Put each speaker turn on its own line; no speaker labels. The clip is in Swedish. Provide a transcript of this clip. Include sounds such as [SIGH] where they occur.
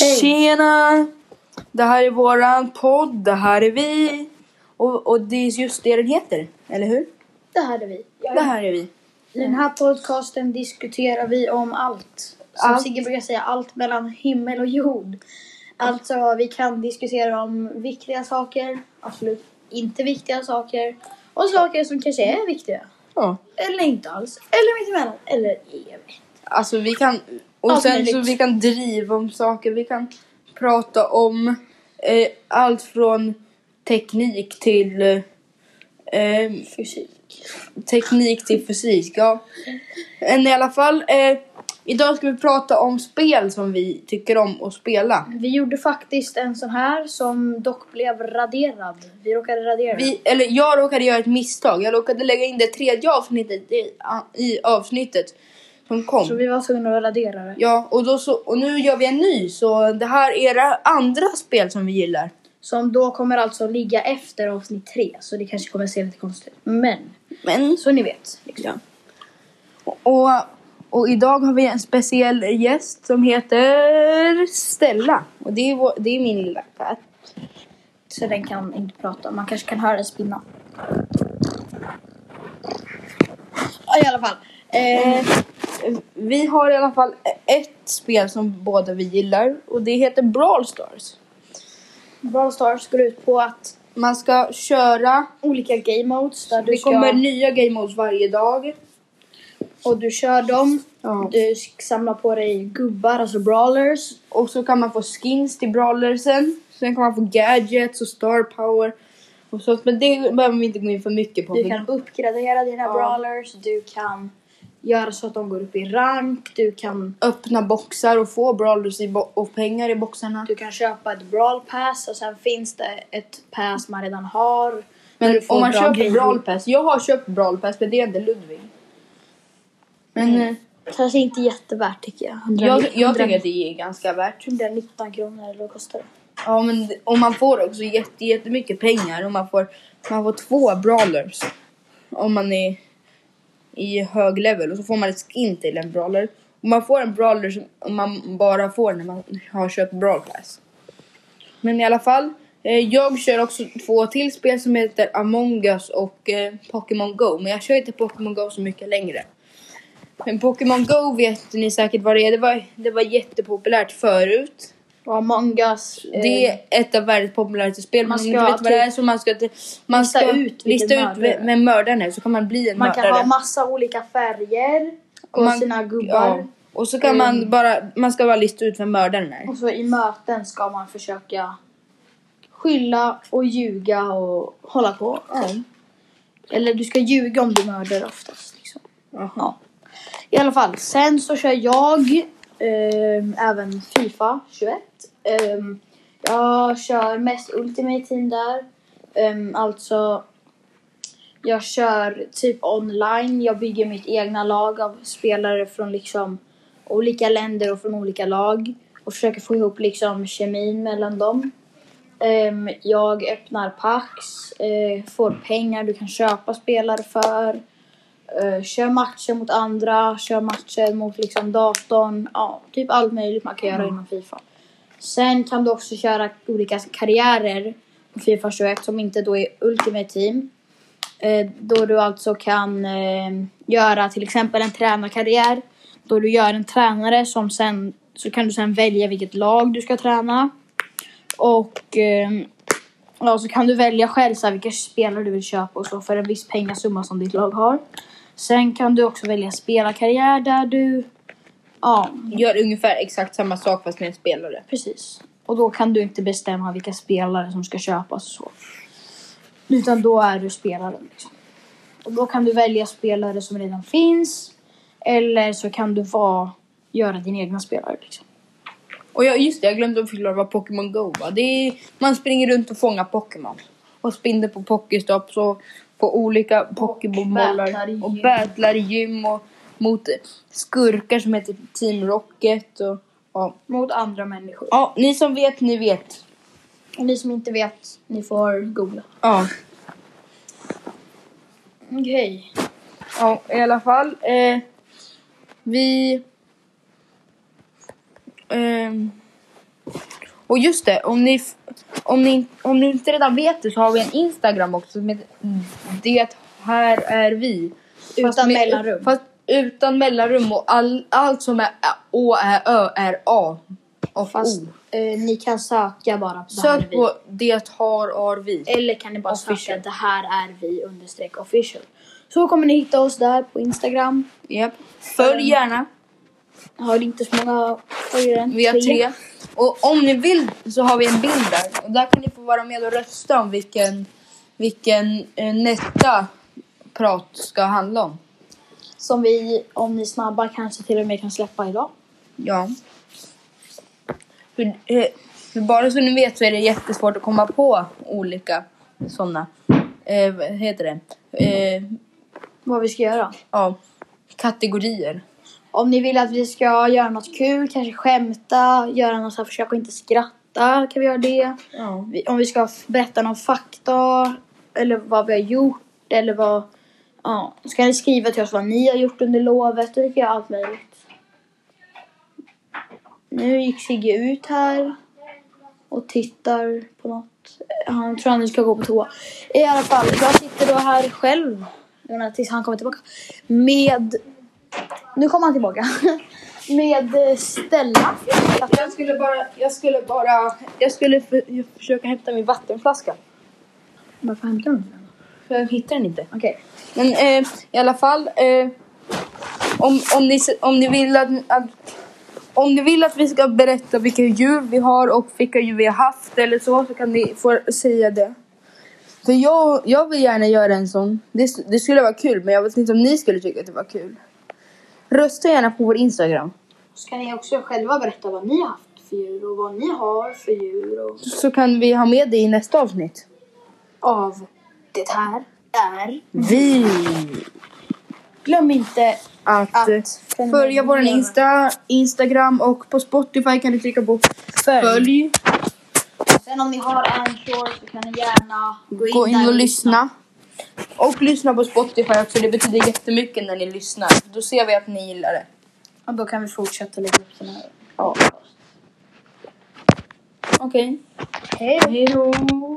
Hej.
Tjena! Det här är våran podd, det här är vi. Och, och det är just det den heter, eller hur?
Det här är vi.
Det här är vi.
I den här podcasten diskuterar vi om allt. Som
Allt.
Sigge brukar säga, allt mellan himmel och jord. Alltså vi kan diskutera om viktiga saker, absolut inte viktiga saker och saker som kanske är viktiga.
Ja.
Eller inte alls. Eller mittemellan. Eller evigt.
Alltså vi kan... Och
Allt
sen
möjligt.
så vi kan driva om saker, vi kan prata om eh, allt från teknik till... Eh,
Fysik.
teknik till fysik, ja. Men i alla fall, eh, idag ska vi prata om spel som vi tycker om att spela.
Vi gjorde faktiskt en sån här som dock blev raderad. Vi råkade radera den.
Vi, eller jag råkade göra ett misstag. Jag råkade lägga in det tredje avsnittet i, i avsnittet som kom.
Så vi var tvungna att radera det.
Ja, och, då så, och nu gör vi en ny. Så det här är det andra spel som vi gillar.
Som då kommer alltså ligga efter avsnitt tre. Så det kanske kommer se lite konstigt ut. Men,
Men,
så ni vet. Liksom.
ja. Och, och idag har vi en speciell gäst som heter Stella. Och det är, vår, det är min lilla katt.
Så den kan inte prata. Man kanske kan höra den spinna. Ja, I alla fall. Eh,
Vi har i alla fall ett spel som båda vi gillar och det heter Brawl Stars.
Brawl Stars går ut på att
Man ska köra
olika game modes där du
Det
ska...
kommer nya game modes varje dag.
Och du kör dem.
Ja.
Du sk- samlar på dig gubbar, alltså brawlers.
Och så kan man få skins till brawlersen. Sen kan man få gadgets och star power. Och sånt. Men det behöver vi inte gå in för mycket på.
Du kan uppgradera dina
Ja.
brawlers. Du kan göra så att de går upp i rank. Du kan,
Öppna boxar och få brawlers i bo- och pengar i boxarna.
du kan köpa ett brawl pass och sen finns det ett pass man redan har. Där
Men
du får
om man
bra
köper
grejer.
brawl pass. Jag har köpt brawl pass men det är inte Ludvig. Men eh,
Kanske inte jättevärt tycker jag. 100,
jag, jag tycker att det är ganska värt.
119 kronor eller vad kostar det?
Ja men det- och man får också jätte, jättemycket pengar och man får, man får två brawlers. Om man är i hög level och så får man ett skin till en brawler. Och man får en brawler som man bara får när man har köpt brawl pass. Men i alla fall. Eh, jag kör också två till spel som heter Among Us och eh, Pokémon Go. Men jag kör inte Pokémon Go så mycket längre. Men Pokémon Go vet ni säkert vad det är. Det var, det var jättepopulärt förut.
Och Among us. eh,
Det är ett av världens populäraste spel. Man
man
ska
ska
inte vet
typ
vad det är så man ska, man
lista
ska
ut vilken
lista ut
mördare.
vem vem mördaren är så kan man bli en
man kan
mördare.
ha massa olika färger och
Man-
sina gubbar.
ja. Och så kan
Mm.
man bara, man ska bara lista ut vem mördaren är.
Och så i möten ska man försöka skylla och ljuga och hålla på. Eller du ska ljuga om du mördar oftast. Liksom. Ja. I alla fall, sen så kör jag ehm, även Fifa 21. Ehm, jag kör mest Ultimate Team där. Ehm, alltså, jag kör typ online. Jag bygger mitt egna lag av spelare från liksom olika länder och från olika lag. Och försöker få ihop liksom kemin mellan dem. Ehm, jag öppnar packs, eh, får pengar du kan köpa spelare för. Eh, kör matcher mot andra, kör matcher mot liksom datorn. Ja, typ allt möjligt man kan göra inom Fifa. Sen kan du också köra olika karriärer på Fifa 21 som inte då är Ultimate Team. Eh, då du alltså kan eh, göra till exempel en tränarkarriär. Då du gör en tränare som sen så kan du sen välja vilket lag du ska träna. Och eh, ja, så kan du välja själv så här, vilka spelare du vill köpa och så för en viss pengasumma som ditt lag har. Sen kan du också välja spelarkarriär där du... Ja,
Gör ungefär exakt samma sak fast med en spelare.
precis. Och då kan du inte bestämma vilka spelare som ska köpas och så. Utan då är du spelaren liksom. Och då kan du välja spelare som redan finns. Eller så kan du vara, göra din egna spelare liksom.
Och jag, just det, jag glömde att förklara vad Pokémon Go var. Det är, man springer runt och fångar Pokémon. Och spinner på Pokéstops och på olika
battlar i
Pokébollar.
gym.
Och battlar i gym och mot skurkar som heter Team Rocket. Och, ja.
Mot andra människor.
ja, ni som vet, ni vet.
Och ni som inte vet, ni får googla.
Ja.
Okej.
Ja, i alla fall. Eh, vi... ehm, Och just det, om ni, om ni, om ni inte redan vet det så har vi en Instagram också med Det här är vi.
Utan mellanrum.
Fast utan mellanrum och all, allt som är Ä- Å, Ä, Ö är A. Och
Fast
O.
eh, ni kan söka bara på det här
Oh.
är
Sök
vi. Eh,
på Det har ar vi.
Eller kan ni bara söka
Official.
det här är vi understreck official. Så kommer ni hitta oss där på Instagram.
Japp. Följ gärna.
Har inte så många följare än
Vi har tre. Och om ni vill så har vi en bild där. Och där kan ni få vara med och rösta om vilken, vilken eh, nästa prat ska handla om.
Som vi, om ni är snabba, kanske till och med kan släppa idag.
Ja. För, eh, för bara så ni vet så är det jättesvårt att komma på olika sådana. Eh, vad heter det? Eh,
Vad vi ska göra.
ja, kategorier.
Om ni vill att vi ska göra något kul, kanske skämta, göra något så här, försök att inte skratta, kan vi göra det.
Ja.
Vi- Om vi ska f- berätta någon fakta, eller vad vi har gjort, eller vad... Ja, ska ni skriva till oss vad ni har gjort under lovet, och vi kan göra allt möjligt. Nu gick Sigge ut här och tittar på något. Han tror han ska gå på toa. I alla fall, jag sitter då här själv, jag menar, tills han kommer tillbaka, med... Nu kommer han tillbaka. [LAUGHS] med eh, Stella.
Jag skulle bara, jag skulle bara, jag skulle för, jag försöka hämta min vattenflaska.
Varför hämtar du inte den?
För jag hittar den inte.
Okej.
Men eh, i alla fall. Eh, om, om, ni, se- om ni vill att, att om ni vill att vi ska berätta vilka djur vi har och vilka djur vi har haft eller så, så kan ni få säga det. För jag, jag vill gärna göra en sån. Det, s- det skulle vara kul, men jag vet inte om ni skulle tycka att det var kul. Rösta gärna på vår Instagram.
Ska ni också själva berätta vad ni har haft för djur och vad ni har för djur och
Så kan vi ha med det i nästa avsnitt.
av det här är.
Vi!
Glöm inte
Att,
Att
eh, följa
prenumerera.
vår Insta, Instagram och på Spotify kan ni trycka på
följ.
följ.
Sen om ni har Anchor så kan ni gärna
Gå in
där
och lyssna. Och lyssna på Spotify också. Det betyder jättemycket när ni lyssnar. Då ser vi att ni gillar det.
Och då kan vi fortsätta lägga upp såna här.
Ja. Okej.
Hej då!